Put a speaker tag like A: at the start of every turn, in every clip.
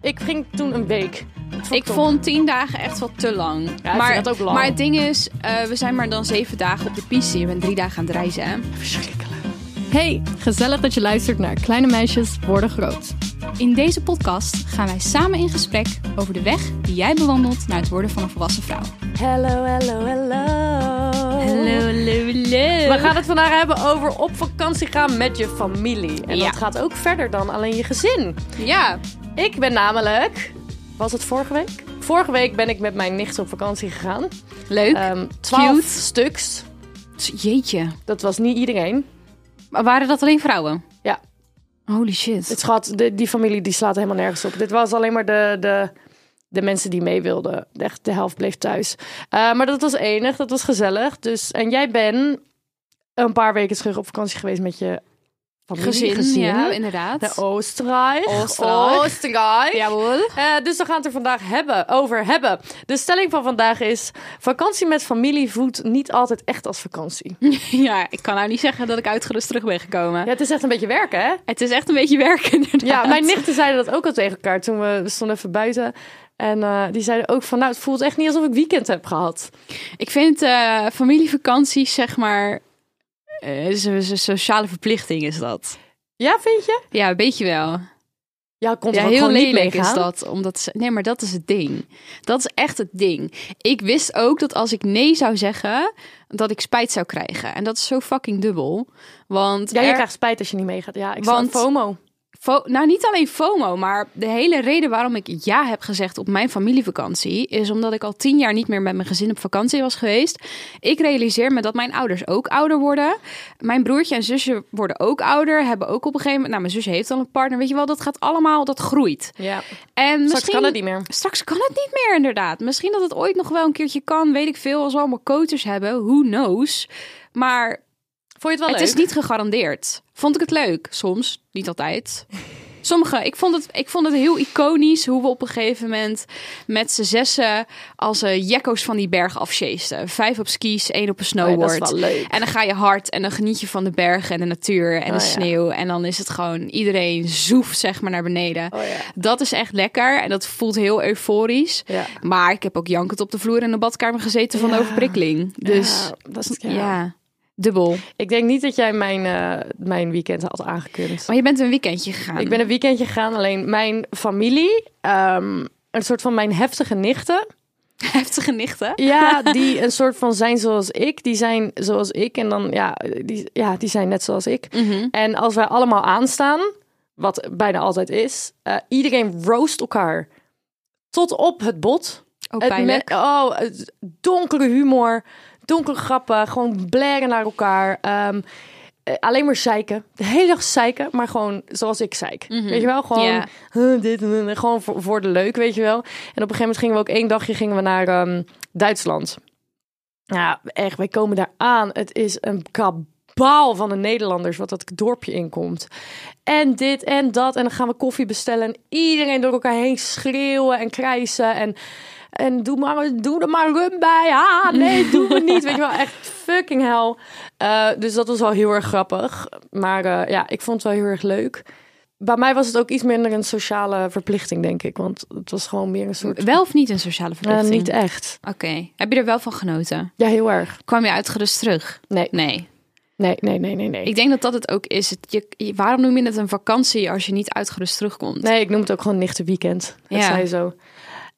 A: Ik ging toen een week.
B: Ik vond tien dagen echt wel te lang.
A: vind
B: maar,
A: dat ook lang.
B: maar het ding is, eh, we zijn maar dan zeven dagen op de piste. Je bent drie dagen aan het reizen. Hè?
A: Hey, gezellig dat je luistert naar Kleine Meisjes Worden Groot.
B: In deze podcast gaan wij samen in gesprek over de weg die jij bewandelt naar het worden van een volwassen vrouw.
A: Hello, hello, hello. Hallo.
B: hallo,
A: We gaan het vandaag hebben over op vakantie gaan met je familie. En
B: Ja.
A: dat gaat ook verder dan alleen je gezin.
B: Ja,
A: Ik ben namelijk... Was het vorige week? Vorige week ben ik met mijn nicht op vakantie gegaan.
B: leuk.
A: Ehm twaalf
B: Cute.
A: stuks.
B: Jeetje.
A: Dat was niet iedereen.
B: Maar waren dat alleen vrouwen?
A: Ja.
B: Holy shit.
A: Het schat, de- die familie die slaat helemaal nergens op. Dit was alleen maar de, de, de mensen die mee wilden. De- Echt, de helft bleef thuis. Eh, maar dat was enig, dat was gezellig. Dus, en jij bent een paar weken terug op vakantie geweest met je familie.
B: gezin, ja,
A: Naar
B: inderdaad.
A: Oostenrijk.
B: Oostenrijk.
A: Oostenrijk.
B: Jawohl.
A: Eh, dus we gaan het er vandaag hebben, over hebben. De stelling van vandaag is... vakantie met familie voelt niet altijd echt als vakantie.
B: Ja, ik kan nou niet zeggen dat ik uitgerust terug ben gekomen.
A: Ja, het is echt een beetje werken, hè?
B: Het is echt een beetje werken inderdaad.
A: Ja, mijn nichten zeiden dat ook al tegen elkaar toen we, we stonden even buiten. En eh, die zeiden ook van, nou, het voelt echt niet alsof ik weekend heb gehad.
B: Ik vind eh, familievakanties, zeg maar, eh, is een is een sociale verplichting is dat.
A: Ja, vind je?
B: Ja, een beetje wel.
A: Ja, komt
B: Ja,
A: er
B: heel
A: gewoon niet mee
B: lelijk is
A: gaan.
B: dat. Omdat ze- nee, maar dat is het ding. Dat is echt het ding. Ik wist ook dat als ik nee zou zeggen, dat ik spijt zou krijgen. En dat is zo fucking dubbel. Want
A: Ja, je
B: er-
A: krijgt spijt als je niet meegaat. Ja, ik snap
B: Want-
A: FOMO.
B: Fo- nou, niet alleen FOMO, maar de hele reden waarom ik ja heb gezegd op mijn familievakantie is omdat ik al tien jaar niet meer met mijn gezin op vakantie was geweest. Ik realiseer me dat mijn ouders ook ouder worden. Mijn broertje en zusje worden ook ouder, hebben ook op een gegeven moment. Nou, mijn zusje heeft al een partner, weet je wel, dat gaat allemaal, dat groeit.
A: Ja,
B: En
A: straks
B: misschien
A: kan het niet meer.
B: Straks kan het niet meer, inderdaad. Misschien dat het ooit nog wel een keertje kan, weet ik veel. Als we allemaal koters hebben, who knows. Maar
A: Vond je het wel
B: het
A: leuk?
B: is niet gegarandeerd. Vond ik het leuk? Soms, niet altijd. Sommige, ik vond, het, ik vond het heel iconisch hoe we op een gegeven moment met z'n zessen als eh, jekko's van die berg afsjeesten. Vijf op skis, één op een
A: Oh ja, dat
B: snowboard.
A: is wel leuk.
B: En dan ga je hard en dan geniet je van de bergen en de natuur en
A: Oh ja.
B: de sneeuw. En dan is het gewoon iedereen zoef zeg maar naar beneden.
A: Oh ja.
B: Dat is echt lekker en dat voelt heel euforisch.
A: Ja.
B: Maar ik heb ook jankend op de vloer in de badkamer gezeten van de overprikkeling. Dus
A: Ja, dat is,
B: ja.
A: ja.
B: dubbel.
A: Ik denk niet dat jij mijn, eh, mijn weekend had aangekund.
B: Maar je bent een weekendje gegaan.
A: Ik ben een weekendje gegaan, alleen mijn familie, ehm, een soort van mijn heftige nichten,
B: heftige nichten.
A: Ja, die een soort van zijn zoals ik. Die zijn zoals ik. En dan, ja, die, ja, die zijn net zoals ik. En als wij allemaal aanstaan, wat bijna altijd is, eh, iedereen roost elkaar. Tot op het bot.
B: Oh,
A: Het
B: pijnlijk.
A: me- oh, het donkere humor, donkere grappen, gewoon blaren naar elkaar. Ehm, eh, alleen maar zeiken. De hele dag zeiken, maar gewoon zoals ik zeik. Weet je wel? Gewoon,
B: Mhm. Ja.
A: huh, dit, huh, gewoon voor, voor de leuk, weet je wel. En op een gegeven moment gingen we ook één dagje gingen we naar ehm, Duitsland. Ja, echt, wij komen daar aan. Het is een kabaal van de Nederlanders wat dat dorpje inkomt. En dit en dat. En dan gaan we koffie bestellen. En iedereen door elkaar heen schreeuwen en krijsen. En, en doe, maar, doe er maar rum bij. Ah, nee, doe het niet. Weet je wel, echt fucking hell. Eh, dus dat was wel heel erg grappig. Maar eh, ja, ik vond het wel heel erg leuk. Bij mij was het ook iets minder een sociale verplichting, denk ik. Want het was gewoon meer een soort...
B: Wel of niet een sociale
A: Eh,
B: verplichting?
A: niet echt.
B: Oké. Heb je er wel van genoten?
A: Ja, heel erg.
B: Kwam je uitgerust terug?
A: Nee,
B: Nee.
A: nee, nee, nee, nee. nee.
B: Ik denk dat dat het ook is. Het- je, je- waarom noem je het een vakantie als je niet uitgerust terugkomt?
A: Nee, ik noem het ook gewoon nichtenweekend. Dat
B: Ja.
A: zei zo.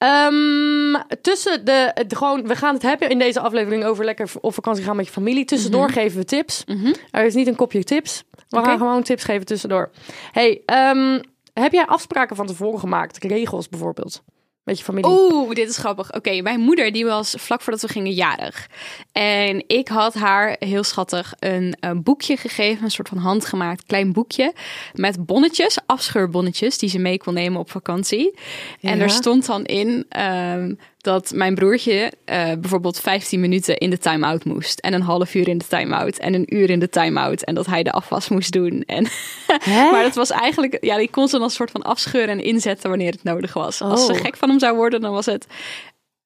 A: Ehm, tussen de, het gewoon, we gaan het hebben in deze aflevering over lekker op vakantie gaan met je familie. Tussendoor geven we tips. Er is niet een kopje tips. We
B: Mhm. Oké.
A: gaan gewoon tips geven tussendoor. Hey, ehm, heb jij afspraken van tevoren gemaakt? Regels bijvoorbeeld. Met je familie.
B: Oeh, dit is grappig. Oké, mijn moeder die was vlak voordat we gingen jarig. En ik had haar heel schattig een, eh, boekje gegeven, een soort van handgemaakt klein boekje met bonnetjes, afscheurbonnetjes die ze mee kon nemen op vakantie. En
A: Ja.
B: daar stond dan in ehm, dat mijn broertje eh, bijvoorbeeld 15 minuten in de time-out moest en een half uur in de time-out en een uur in de time-out en dat hij de afwas moest doen. En
A: Eh?
B: maar dat was eigenlijk, ja, die kon ze dan een soort van afscheuren en inzetten wanneer het nodig was. Als ze
A: Oh.
B: gek van hem zou worden, dan was het.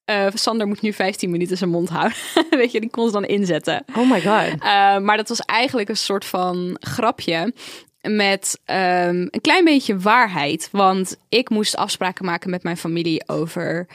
B: eh, Sander moet nu 15 minuten zijn mond houden. Weet je, die kon ze dan inzetten.
A: Oh my god.
B: Eh, maar dat was eigenlijk een soort van grapje met ehm, een klein beetje waarheid. Want ik moest afspraken maken met mijn familie over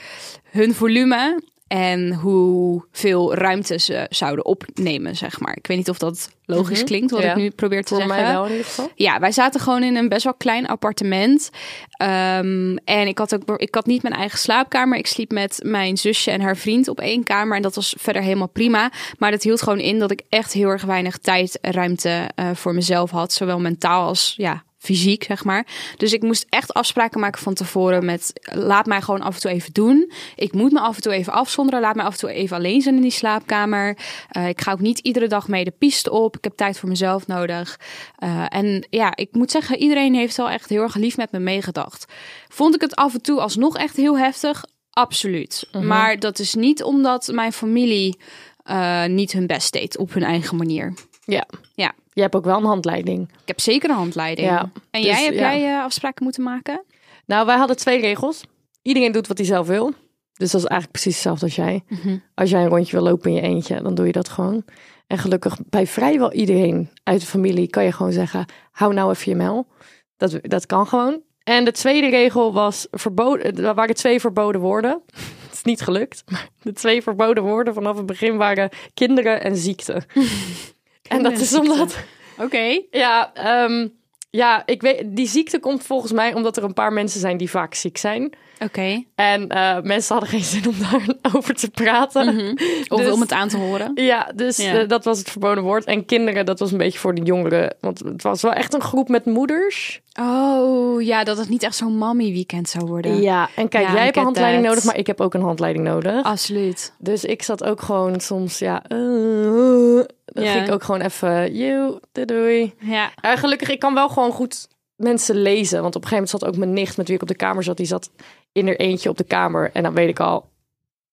B: hun volume en hoeveel ruimte ze zouden opnemen, zeg maar. Ik weet niet of dat logisch klinkt, wat
A: Mhm. Ja.
B: ik nu probeer te
A: Voor
B: zeggen.
A: mij wel in ieder geval.
B: Ja, wij zaten gewoon in een best wel klein appartement. Ehm, en ik had, ook, ik had niet mijn eigen slaapkamer. Ik sliep met mijn zusje en haar vriend op één kamer. En dat was verder helemaal prima. Maar dat hield gewoon in dat ik echt heel erg weinig tijd en ruimte eh, voor mezelf had. Zowel mentaal als ja, fysiek, zeg maar. Dus ik moest echt afspraken maken van tevoren met... laat mij gewoon af en toe even doen. Ik moet me af en toe even afzonderen. Laat mij af en toe even alleen zijn in die slaapkamer. Eh, ik ga ook niet iedere dag mee de piste op. Ik heb tijd voor mezelf nodig. Eh, en ja, ik moet zeggen, iedereen heeft wel echt heel erg lief met me meegedacht. Vond ik het af en toe alsnog echt heel heftig? Absoluut.
A: Mhm.
B: Maar dat is niet omdat mijn familie eh, niet hun best deed op hun eigen manier.
A: Ja.
B: Ja.
A: Je hebt ook wel een handleiding.
B: Ik heb zeker een handleiding.
A: Ja,
B: en
A: dus,
B: jij, heb
A: ja.
B: jij eh, afspraken moeten maken?
A: Nou, wij hadden twee regels. Iedereen doet wat hij zelf wil. Dus dat is eigenlijk precies hetzelfde als jij. Als jij een rondje wil lopen in je eentje, dan doe je dat gewoon. En gelukkig bij vrijwel iedereen uit de familie kan je gewoon zeggen: hou nou even je mel. Dat, dat kan gewoon. En de tweede regel was verboden. Er waren twee verboden woorden. Het is niet gelukt. Maar de twee verboden woorden vanaf het begin waren kinderen en ziekte. en dat is
B: ziekte.
A: omdat
B: Oké.
A: ja, ehm, ja ik weet, die ziekte komt volgens mij omdat er een paar mensen zijn die vaak ziek zijn.
B: Oké.
A: En eh, mensen hadden geen zin om daarover te praten.
B: Mhm. Of
A: Dus-
B: om het aan te horen.
A: Ja, dus
B: Ja.
A: eh, dat was het verboden woord. En kinderen, dat was een beetje voor de jongeren. Want het was wel echt een groep met moeders.
B: Oh, ja, dat het niet echt zo'n mommy weekend zou worden.
A: Ja, en kijk,
B: Ja, I
A: jij hebt een
B: get
A: handleiding
B: that.
A: nodig, maar ik heb ook een handleiding nodig.
B: Ah. Absoluut.
A: Dus ik zat ook gewoon soms, ja... eh, eh. dan
B: Ja.
A: ging ik ook gewoon even... Joe, doei, doei.
B: Ja.
A: Eh, gelukkig, ik kan wel gewoon goed mensen lezen. Want op een gegeven moment zat ook mijn nicht met wie ik op de kamer zat. Die zat in er eentje op de kamer. En dan weet ik al,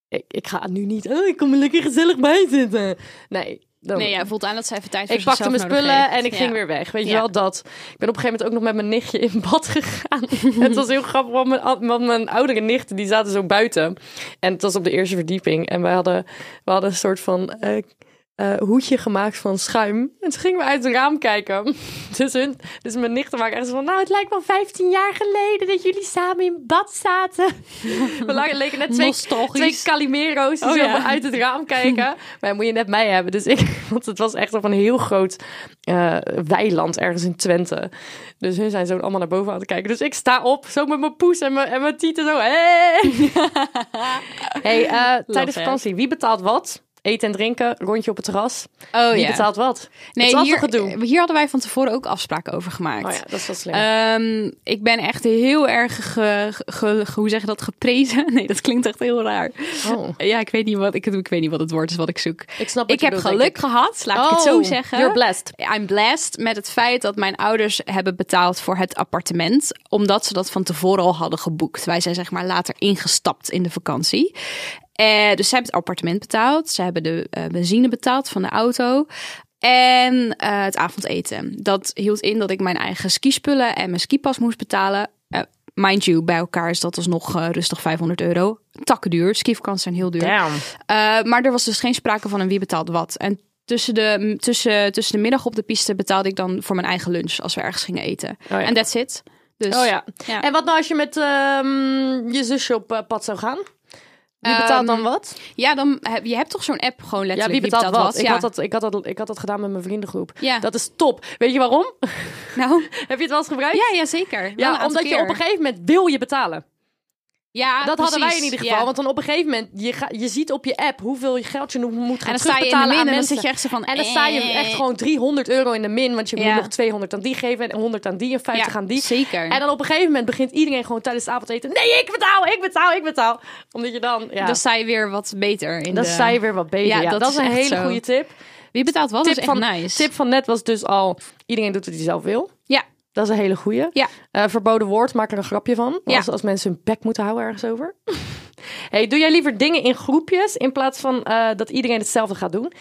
A: ik, ik ga nu niet... Oh, ik kom er lekker gezellig bij zitten. Nee, dan,
B: Nee, jij voelt aan dat zij even tijd voor
A: ik pakte
B: zichzelf
A: mijn
B: nodig
A: spullen
B: heeft.
A: en ik
B: Ja.
A: ging weer weg. Weet je
B: Ja.
A: wel, dat. Ik ben op een gegeven moment ook nog met mijn nichtje in bad gegaan. het was heel grappig, want mijn, want mijn oudere nichten die zaten zo buiten. En het was op de eerste verdieping. En wij hadden, we hadden een soort van... eh, eh, hoedje gemaakt van schuim. En toen gingen we uit het raam kijken. Dus, hun, dus mijn nichten waren echt zo van... Nou, het lijkt wel 15 jaar geleden dat jullie samen in bad zaten. we la- leken net twee,
B: Nostalgisch.
A: twee Calimero's die
B: Oh,
A: zo
B: ja.
A: uit het raam kijken. maar moet je net mij hebben. Dus ik, want het was echt op een heel groot eh, weiland ergens in Twente. Dus hun zijn zo allemaal naar boven aan het kijken. Dus ik sta op, zo met mijn poes en mijn, en mijn tieten zo. Hey, hey eh, tijdens
B: hè?
A: vakantie, wie betaalt wat? Eten en drinken, rondje op het terras.
B: Oh
A: Wie
B: ja.
A: betaalt wat?
B: Nee,
A: het is
B: hier,
A: altijd gedoe.
B: hier hadden wij van tevoren ook afspraken over gemaakt.
A: Oh ja, dat is wel slim.
B: Ehm, ik ben echt heel erg, ge, ge- ge- hoe zeg je dat, geprezen. Nee, dat klinkt echt heel raar.
A: Oh.
B: Ja, ik weet, niet wat, ik, ik weet niet wat het woord is wat ik zoek.
A: ik snap wat
B: Ik
A: je
B: heb
A: bedoelt, denk
B: geluk
A: ik.
B: gehad, laat ik het zo
A: Oh,
B: zeggen.
A: You're blessed.
B: I'm blessed met het feit dat mijn ouders hebben betaald voor het appartement. Omdat ze dat van tevoren al hadden geboekt. Wij zijn zeg maar later ingestapt in de vakantie. Eh, dus ze hebben het appartement betaald. Ze hebben de eh, benzine betaald van de auto. En eh, het avondeten. Dat hield in dat ik mijn eigen skispullen en mijn skipas moest betalen. Eh, mind you, bij elkaar is dat alsnog nog rustig 500 euro. Takken duur. Skivakanties zijn heel duur.
A: Damn.
B: Eh, maar er was dus geen sprake van een wie betaalt wat. En tussen de, tussen, tussen de middag op de piste betaalde ik dan voor mijn eigen lunch als we ergens gingen eten. En
A: Oh ja.
B: that's it. Dus,
A: Oh ja.
B: Oh Ja.
A: En wat nou als je met ehm, je zusje op eh, pad zou gaan? Wie betaalt
B: Ehm,
A: dan wat?
B: ja, dan heb je hebt toch zo'n app gewoon letterlijk.
A: Ja, wie betaalt, wat? Ik,
B: Ja.
A: had dat, ik, had dat, ik had dat gedaan met mijn vriendengroep.
B: Ja.
A: Dat is top. Weet je waarom?
B: Nou,
A: Heb je het wel eens gebruikt?
B: ja, ja, zeker. Wel een
A: Ja,
B: aantal
A: omdat je
B: keer.
A: op een gegeven moment wil je betalen.
B: Ja,
A: dat hadden wij in
B: precies.
A: ieder geval.
B: Ja.
A: Want dan op een gegeven moment, je, ga, je ziet op je app hoeveel je geld je nog moet
B: en
A: gaan
B: dan sta je in de
A: terugbetalen
B: min
A: aan
B: en dan
A: mensen.
B: zit je echt zo van...
A: En dan sta je
B: eh.
A: echt gewoon 300 euro in de min. Want je
B: Ja.
A: moet nog 200 aan die geven. En 100 aan die en 50
B: Ja,
A: aan die.
B: Zeker.
A: En dan op een gegeven moment begint iedereen gewoon tijdens het avondeten. Nee, ik betaal, ik betaal, ik betaal. Omdat je dan... Ja,
B: Dan sta je weer wat beter in
A: dan
B: de...
A: sta je weer wat beter. Ja, dat, is een
B: echt
A: hele
B: zo.
A: goede tip.
B: Wie betaalt wat is
A: tip, van,
B: echt nice.
A: tip van net was dus al... Iedereen doet wat hij zelf wil.
B: Ja.
A: Dat is een hele goeie.
B: Ja.
A: Eh, verboden woord, maak er een grapje van.
B: Ja.
A: Als, als mensen hun bek moeten houden ergens over. hey, doe jij liever dingen in groepjes... in plaats van eh, dat iedereen hetzelfde gaat doen?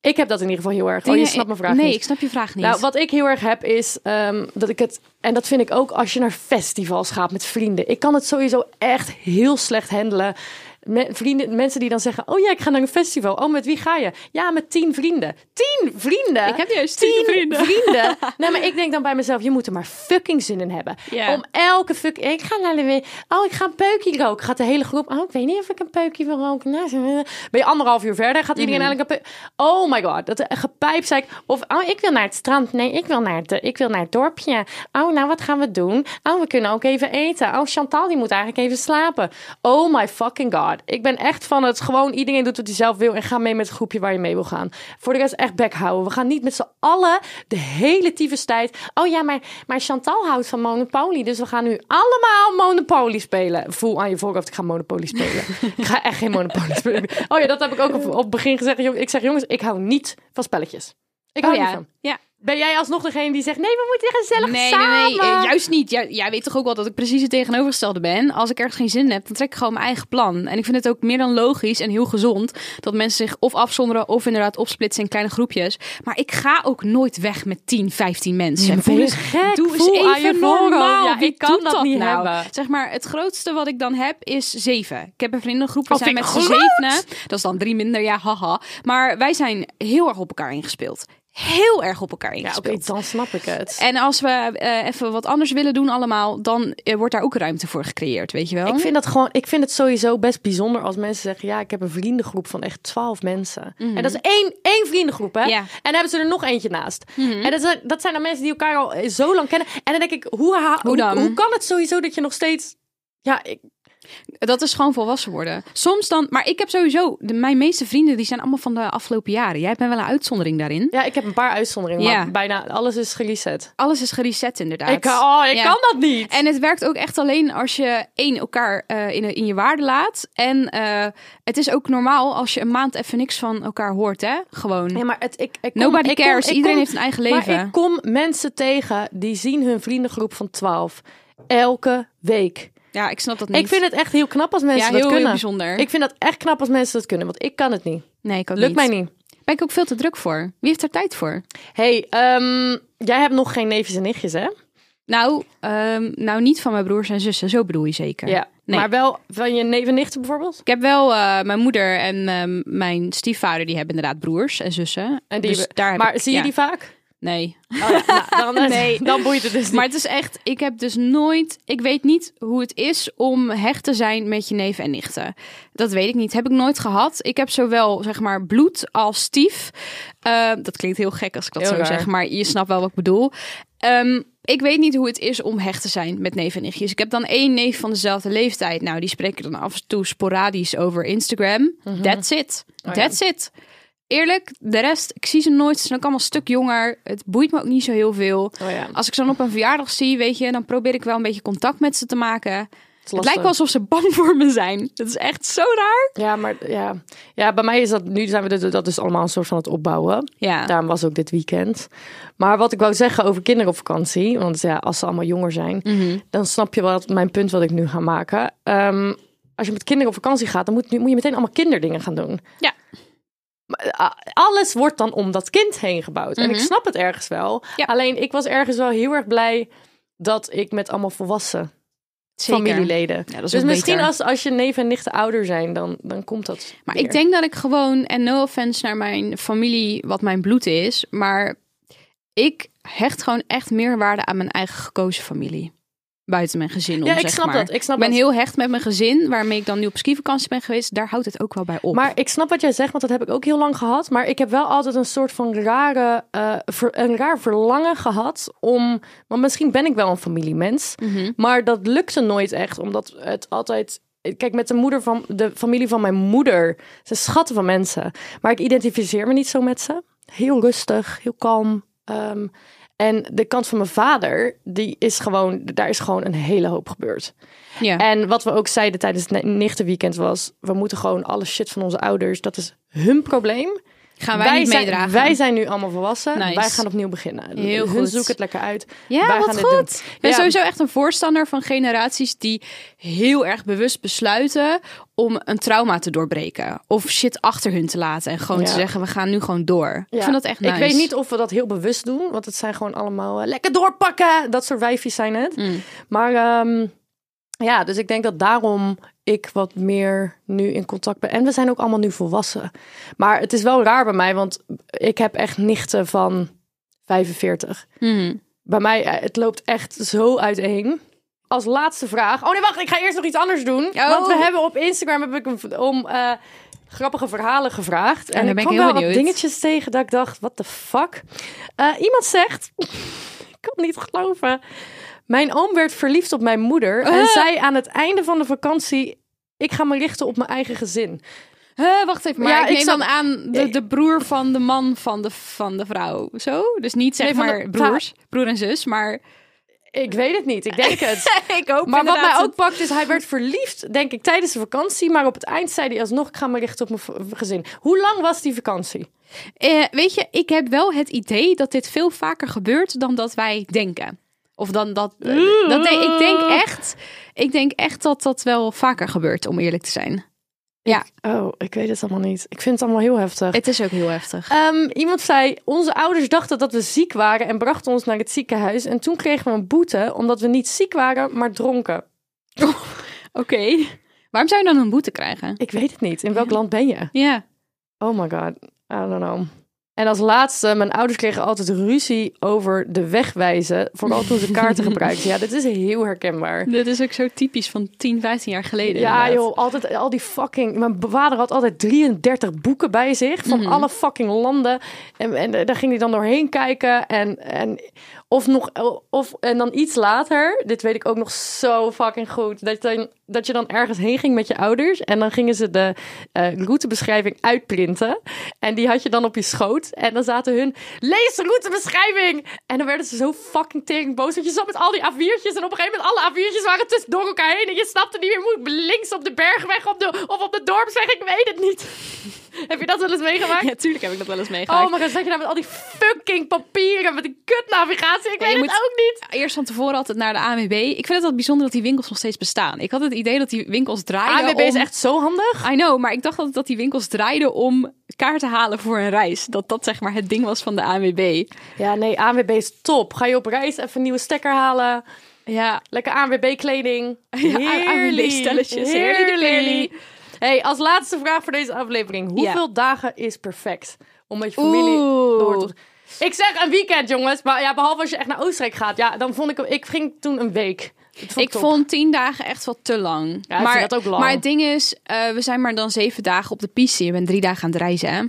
A: Ik heb dat in ieder geval heel erg. oh, je
B: Dingen-
A: snapt mijn vraag
B: Nee,
A: niet.
B: ik snap je vraag niet.
A: Nou, wat ik heel erg heb is ehm, dat ik het. En dat vind ik ook als je naar festivals gaat met vrienden. Ik kan het sowieso echt heel slecht handelen. Me- vrienden, mensen die dan zeggen: Oh ja, ik ga naar een festival. Oh, met wie ga je? Ja, met tien vrienden. Tien vrienden?
B: Ik heb juist tien vrienden.
A: vrienden. nee, maar ik denk dan bij mezelf: Je moet er maar fucking zin in hebben.
B: Ja.
A: Om elke fuck. Ik ga naar de. Oh, ik ga een peukje roken. Gaat de hele groep. Oh, ik weet niet of ik een peukje wil roken. Nou, ze- Ben je anderhalf uur verder? Gaat iedereen eigenlijk een peu- Oh my god, dat gepijp zei ik. Of oh, ik wil naar het strand. Nee, ik wil naar het, ik wil naar het dorpje. Oh, nou, wat gaan we doen? Oh, we kunnen ook even eten. Oh, Chantal, die moet eigenlijk even slapen. Oh my fucking god. Ik ben echt van het gewoon iedereen doet wat hij zelf wil en ga mee met het groepje waar je mee wil gaan. Voor de rest echt bek houden. We gaan niet met z'n allen de hele tyfus tijd. Oh ja, maar, maar Chantal houdt van Monopoly, dus we gaan nu allemaal Monopoly spelen. Voel aan je voorhoofd, ik ga Monopoly spelen. ik ga echt geen Monopoly spelen. Oh ja, dat heb ik ook op, op het begin gezegd. Jong- Ik zeg jongens, ik hou niet van spelletjes. Ik
B: Oh
A: hou niet
B: ja.
A: van.
B: ja.
A: Ben jij alsnog degene die zegt, nee, we moeten gezellig
B: Nee, nee,
A: samen.
B: nee, eh, juist niet. Jij, jij weet toch ook wel dat ik precies het tegenovergestelde ben. Als ik ergens geen zin in heb, dan trek ik gewoon mijn eigen plan. En ik vind het ook meer dan logisch en heel gezond dat mensen zich of afzonderen of inderdaad opsplitsen in kleine groepjes. Maar ik ga ook nooit weg met 10, 15 mensen.
A: Nee, maar
B: Voel
A: ben je
B: eens-
A: gek?
B: Doe eens
A: Voel aan je
B: even normaal.
A: voorhoofd. Ja,
B: Wie
A: ik kan
B: doet
A: dat niet
B: nou?
A: hebben.
B: Zeg maar, het grootste wat ik dan heb is zeven. Ik heb een vriendengroep, we
A: Oh,
B: zijn
A: vind
B: met
A: ik
B: z'n
A: groot!
B: zevenen. Dat is dan drie minder, ja, haha. Maar wij zijn heel erg op elkaar ingespeeld. Heel erg op elkaar
A: Ja, oké,
B: ingespeeld.
A: dan snap ik het.
B: En als we eh, even wat anders willen doen allemaal, dan eh, wordt daar ook ruimte voor gecreëerd, weet je wel?
A: Ik vind dat gewoon, ik vind het sowieso best bijzonder als mensen zeggen: ja, ik heb een vriendengroep van echt twaalf mensen. En dat is één, één vriendengroep, hè?
B: Mhm. Ja. Mhm.
A: En dan hebben ze er nog eentje naast. En dat, zijn- dat zijn dan mensen die elkaar al eh, zo lang kennen. En dan denk ik: hoe, ha- hoe,
B: dan?
A: hoe kan het sowieso dat je nog steeds. Ja, ik,
B: Dat is gewoon volwassen worden. Soms dan, maar ik heb sowieso, de, mijn meeste vrienden die zijn allemaal van de afgelopen jaren. Jij bent wel een uitzondering daarin.
A: ja, ik heb een paar uitzonderingen,
B: Ja.
A: maar bijna alles is gereset.
B: Alles is gereset inderdaad.
A: Ik, oh, ik
B: Ja.
A: kan dat niet.
B: En het werkt ook echt alleen als je één elkaar eh, in, in je waarde laat. En eh, het is ook normaal als je een maand even niks van elkaar hoort, hè? Gewoon.
A: Ja, maar het, ik, ik kom-
B: Nobody
A: ik kom-
B: cares.
A: ik kom-
B: Iedereen heeft een eigen leven.
A: Maar ik kom mensen tegen die zien hun vriendengroep van 12 elke week.
B: Ja, ik snap dat niet.
A: Ik vind het echt heel knap als mensen
B: ja,
A: dat
B: heel, heel
A: kunnen.
B: bijzonder.
A: Ik vind dat echt knap als mensen dat kunnen, want ik kan het niet.
B: nee, ik kan
A: Lukt mij niet.
B: Ben ik ook veel te druk voor. Wie heeft er tijd voor?
A: hey, ehm, jij hebt nog geen neefjes en nichtjes, hè?
B: Nou, ehm, nou niet van mijn broers en zussen, zo bedoel je zeker. Nee.
A: Maar wel van je neef en nichten bijvoorbeeld?
B: Ik heb wel eh, mijn moeder en ehm, mijn stiefvader, die hebben inderdaad broers en zussen.
A: En die
B: Dus
A: hebben-
B: daar heb
A: maar
B: ik-
A: zie je
B: ja.
A: die vaak?
B: Nee.
A: Oh ja, nou, dan, nee. dan boeit het dus niet.
B: Maar het is echt, ik heb dus nooit, ik weet niet hoe het is om hecht te zijn met je neven en nichten. Dat weet ik niet, heb ik nooit gehad. Ik heb zowel, zeg maar, bloed als stief. Eh, dat klinkt heel gek als ik dat
A: Heel
B: zo
A: raar.
B: zeg, maar je snapt wel wat ik bedoel. Ehm, ik weet niet hoe het is om hecht te zijn met neven en nichtjes. Ik heb dan één neef van dezelfde leeftijd. Nou, die spreek ik dan af en toe sporadisch over Instagram.
A: Mhm.
B: That's it.
A: Oh,
B: That's it. Eerlijk, de rest, ik zie ze nooit. Ze zijn ook allemaal een stuk jonger. Het boeit me ook niet zo heel veel.
A: Oh ja,
B: Als ik ze dan op een verjaardag zie, weet je, dan probeer ik wel een beetje contact met ze te maken.
A: het is
B: Het
A: lastig.
B: lijkt wel alsof ze bang voor me zijn. Dat is echt zo raar.
A: Ja, maar ja. ja, bij mij is dat... Nu zijn we dit- dat dus allemaal een soort van het opbouwen.
B: Ja.
A: Daarom was ook dit weekend. Maar wat ik wou zeggen over kinderen op vakantie, want ja, als ze allemaal jonger zijn,
B: Mhm.
A: dan snap je wat mijn punt wat ik nu ga maken. Ehm, als je met kinderen op vakantie gaat, dan moet, moet je meteen allemaal kinderdingen gaan doen.
B: Ja.
A: Maar, ah, Alles wordt dan om dat kind heen gebouwd. En ik snap het ergens wel.
B: Mhm. Ja.
A: Alleen ik was ergens wel heel erg blij dat ik met allemaal volwassen familieleden.
B: Ja, dat is
A: dus
B: ook
A: misschien
B: beter.
A: als, als je neef en nichten ouder zijn, dan, dan komt dat.
B: Maar
A: weer.
B: ik denk dat ik gewoon, en no offense naar mijn familie, wat mijn bloed is, maar ik hecht gewoon echt meer waarde aan mijn eigen gekozen familie. buiten mijn gezin om.
A: Ja, ik
B: zeg
A: snap
B: maar.
A: dat. Ik snap
B: Ik ben
A: dat.
B: heel hecht met mijn gezin, waarmee ik dan nu op skivakantie ben geweest. Daar houdt het ook wel bij op.
A: Maar ik snap wat jij zegt, want dat heb ik ook heel lang gehad. Maar ik heb wel altijd een soort van rare, eh, ver- een raar verlangen gehad om. Want misschien ben ik wel een familiemens, maar dat lukte nooit echt, omdat het altijd. Kijk, met de moeder van de familie van mijn moeder. Ze schatten van mensen. Maar ik identificeer me niet zo met ze. Heel rustig, heel kalm. ehm, en de kant van mijn vader, die is gewoon, daar is gewoon een hele hoop gebeurd.
B: ja.
A: En wat we ook zeiden tijdens het ni- nichtenweekend was... we moeten gewoon alle shit van onze ouders... dat is hun probleem.
B: Gaan wij, niet
A: zijn,
B: meedragen.
A: Wij zijn nu allemaal volwassen.
B: Nice.
A: Wij gaan opnieuw beginnen.
B: Heel
A: hun
B: goed.
A: zoeken het lekker uit.
B: Ja,
A: wij
B: wat
A: gaan
B: goed.
A: Dit doen.
B: Ik ben
A: Ja.
B: sowieso echt een voorstander van generaties die heel erg bewust besluiten om een trauma te doorbreken. Of shit achter hun te laten en gewoon
A: Ja.
B: te zeggen, we gaan nu gewoon door. Ik
A: Ja.
B: vind dat echt nice.
A: Ik weet niet of we dat heel bewust doen. Want het zijn gewoon allemaal eh, lekker doorpakken. Dat soort wijfjes zijn het.
B: Mm.
A: Maar ehm, ja, dus ik denk dat daarom ik wat meer nu in contact ben. En we zijn ook allemaal nu volwassen. Maar het is wel raar bij mij, want ik heb echt nichten van 45.
B: Mhm.
A: Bij mij, eh, het loopt echt zo uiteen. Als laatste vraag. Oh nee, wacht, ik ga eerst nog iets anders doen.
B: Oh.
A: Want we hebben op Instagram heb ik een- om eh, grappige verhalen gevraagd. En
B: dan
A: ik
B: ben ik
A: kwam
B: heel
A: wel
B: benieuwd.
A: wat dingetjes tegen dat ik dacht, what the fuck? Eh, iemand zegt, ik kan het niet geloven. Mijn oom werd verliefd op mijn moeder en zei aan het einde van de vakantie... Ik ga me richten op mijn eigen gezin.
B: Huh, Eh, wacht even, maar
A: Ja,
B: ik neem
A: ik snap- Eh,
B: dan aan de, de broer van de man van de, van de vrouw. Zo? Dus niet zeg
A: Nee, van de
B: maar broers, broer en zus, maar...
A: Ik weet het niet, ik denk het.
B: ik hoop
A: Maar wat mij
B: inderdaad-
A: ook pakt is, hij werd verliefd, denk ik, tijdens de vakantie. Maar op het eind zei hij alsnog, ik ga me richten op mijn v- gezin. Hoe lang was die vakantie?
B: Eh, weet je, ik heb wel het idee dat dit veel vaker gebeurt dan dat wij denken. Of dan dat. eh, dat denk- ik, denk echt, ik denk echt dat dat wel vaker gebeurt, om eerlijk te zijn. Ja,
A: Oh, ik weet het allemaal niet. Ik vind het allemaal heel heftig.
B: het is ook heel heftig.
A: Ehm, iemand zei, onze ouders dachten dat we ziek waren en brachten ons naar het ziekenhuis. En toen kregen we een boete, omdat we niet ziek waren, maar dronken.
B: Oké. Waarom zou je dan een boete krijgen?
A: Ik weet het niet. In welk land ben je?
B: Ja.
A: Oh my god, I don't know. En als laatste, mijn ouders kregen altijd ruzie over de wegwijzen. Vooral toen ze kaarten gebruikten. Ja, dit is heel herkenbaar.
B: Dit is ook zo typisch van 10, 15 jaar geleden.
A: Ja,
B: inderdaad.
A: joh, altijd al die fucking. Mijn vader had altijd 33 boeken bij zich van
B: Mhm.
A: alle fucking landen. En, en eh, daar ging hij dan doorheen kijken. En, en, of nog, of, en dan iets later, dit weet ik ook nog zo fucking goed, dat, dan, dat je dan ergens heen ging met je ouders. En dan gingen ze de eh, routebeschrijving uitprinten. En die had je dan op je schoot. En dan zaten hun, lees de routebeschrijving! En dan werden ze zo fucking tering boos. Want je zat met al die A4'tjes. En op een gegeven moment, alle A4'tjes waren tussen door elkaar heen. En je snapte niet meer, moet links op de bergweg op de, of op de dorpsweg. Ik weet het niet. Heb je dat wel eens meegemaakt?
B: Ja, tuurlijk heb ik dat wel eens meegemaakt.
A: Oh my god, zat je nou met al die fucking papieren, met die kutnavigatie? Ik
B: Ja, je
A: weet het
B: moet-
A: ook niet.
B: Eerst van tevoren altijd naar de ANWB. Ik vind het wel bijzonder dat die winkels nog steeds bestaan. Ik had het idee dat die winkels draaien
A: ANWB is
B: om-
A: echt zo handig.
B: I know, maar ik dacht altijd dat die winkels draaiden om kaarten halen voor een reis. Dat dat zeg maar het ding was van de ANWB.
A: Ja, nee, ANWB is top. Ga je op reis even een nieuwe stekker halen.
B: Ja,
A: Lekker ANWB-kleding.
B: ANWB-stelletjes. Heerly de peerly.
A: Hey, als laatste vraag voor deze aflevering. Hoeveel dagen is perfect om met je familie
B: Oeh.
A: door te... Ik zeg een weekend, jongens. Maar ja, behalve als je echt naar Oostenrijk gaat. Ja, dan vond ik... Ik ging toen een week. Dat vond
B: ik
A: top.
B: vond tien dagen echt wel te lang.
A: ik
B: maar,
A: vind dat ook lang.
B: maar het ding is, eh, we zijn maar dan zeven dagen op de piste. Je bent drie dagen aan het reizen, hè?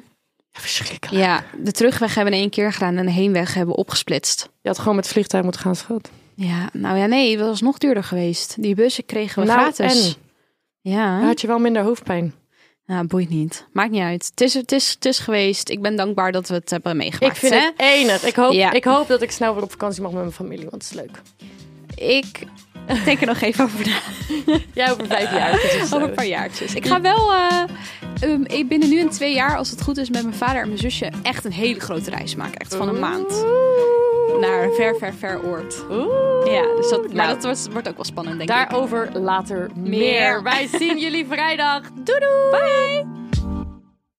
A: Verschrikkelijk.
B: Ja, de terugweg hebben we in één keer gedaan en de heenweg hebben we opgesplitst.
A: Je had gewoon met het vliegtuig moeten gaan, schat.
B: Ja, nou ja, nee, dat was nog duurder geweest. Die bussen kregen we
A: Nou,
B: gratis.
A: en?
B: Ja.
A: Dan had je wel minder hoofdpijn.
B: Nou, boeit niet. Maakt niet uit. Het is, het, is, het is geweest. Ik ben dankbaar dat we het hebben meegemaakt.
A: Ik vind
B: hè?
A: het enig. Ik hoop,
B: Ja.
A: ik hoop dat ik snel weer op vakantie mag met mijn familie, want het is leuk.
B: Ik denk er nog even over na.
A: Jij over vijf jaar.
B: Over een paar jaartjes. Ik ga wel eh, ehm, ik binnen nu en twee jaar, als het goed is, met mijn vader en mijn zusje echt een hele grote reis maken. Echt van een maand. Naar een ver, ver, ver oord. Ja, dus dat, maar
A: Nou.
B: dat wordt, wordt ook wel spannend, denk ik.
A: Daarover later meer.
B: Meer.
A: Wij zien jullie vrijdag. Doei doei! Bye!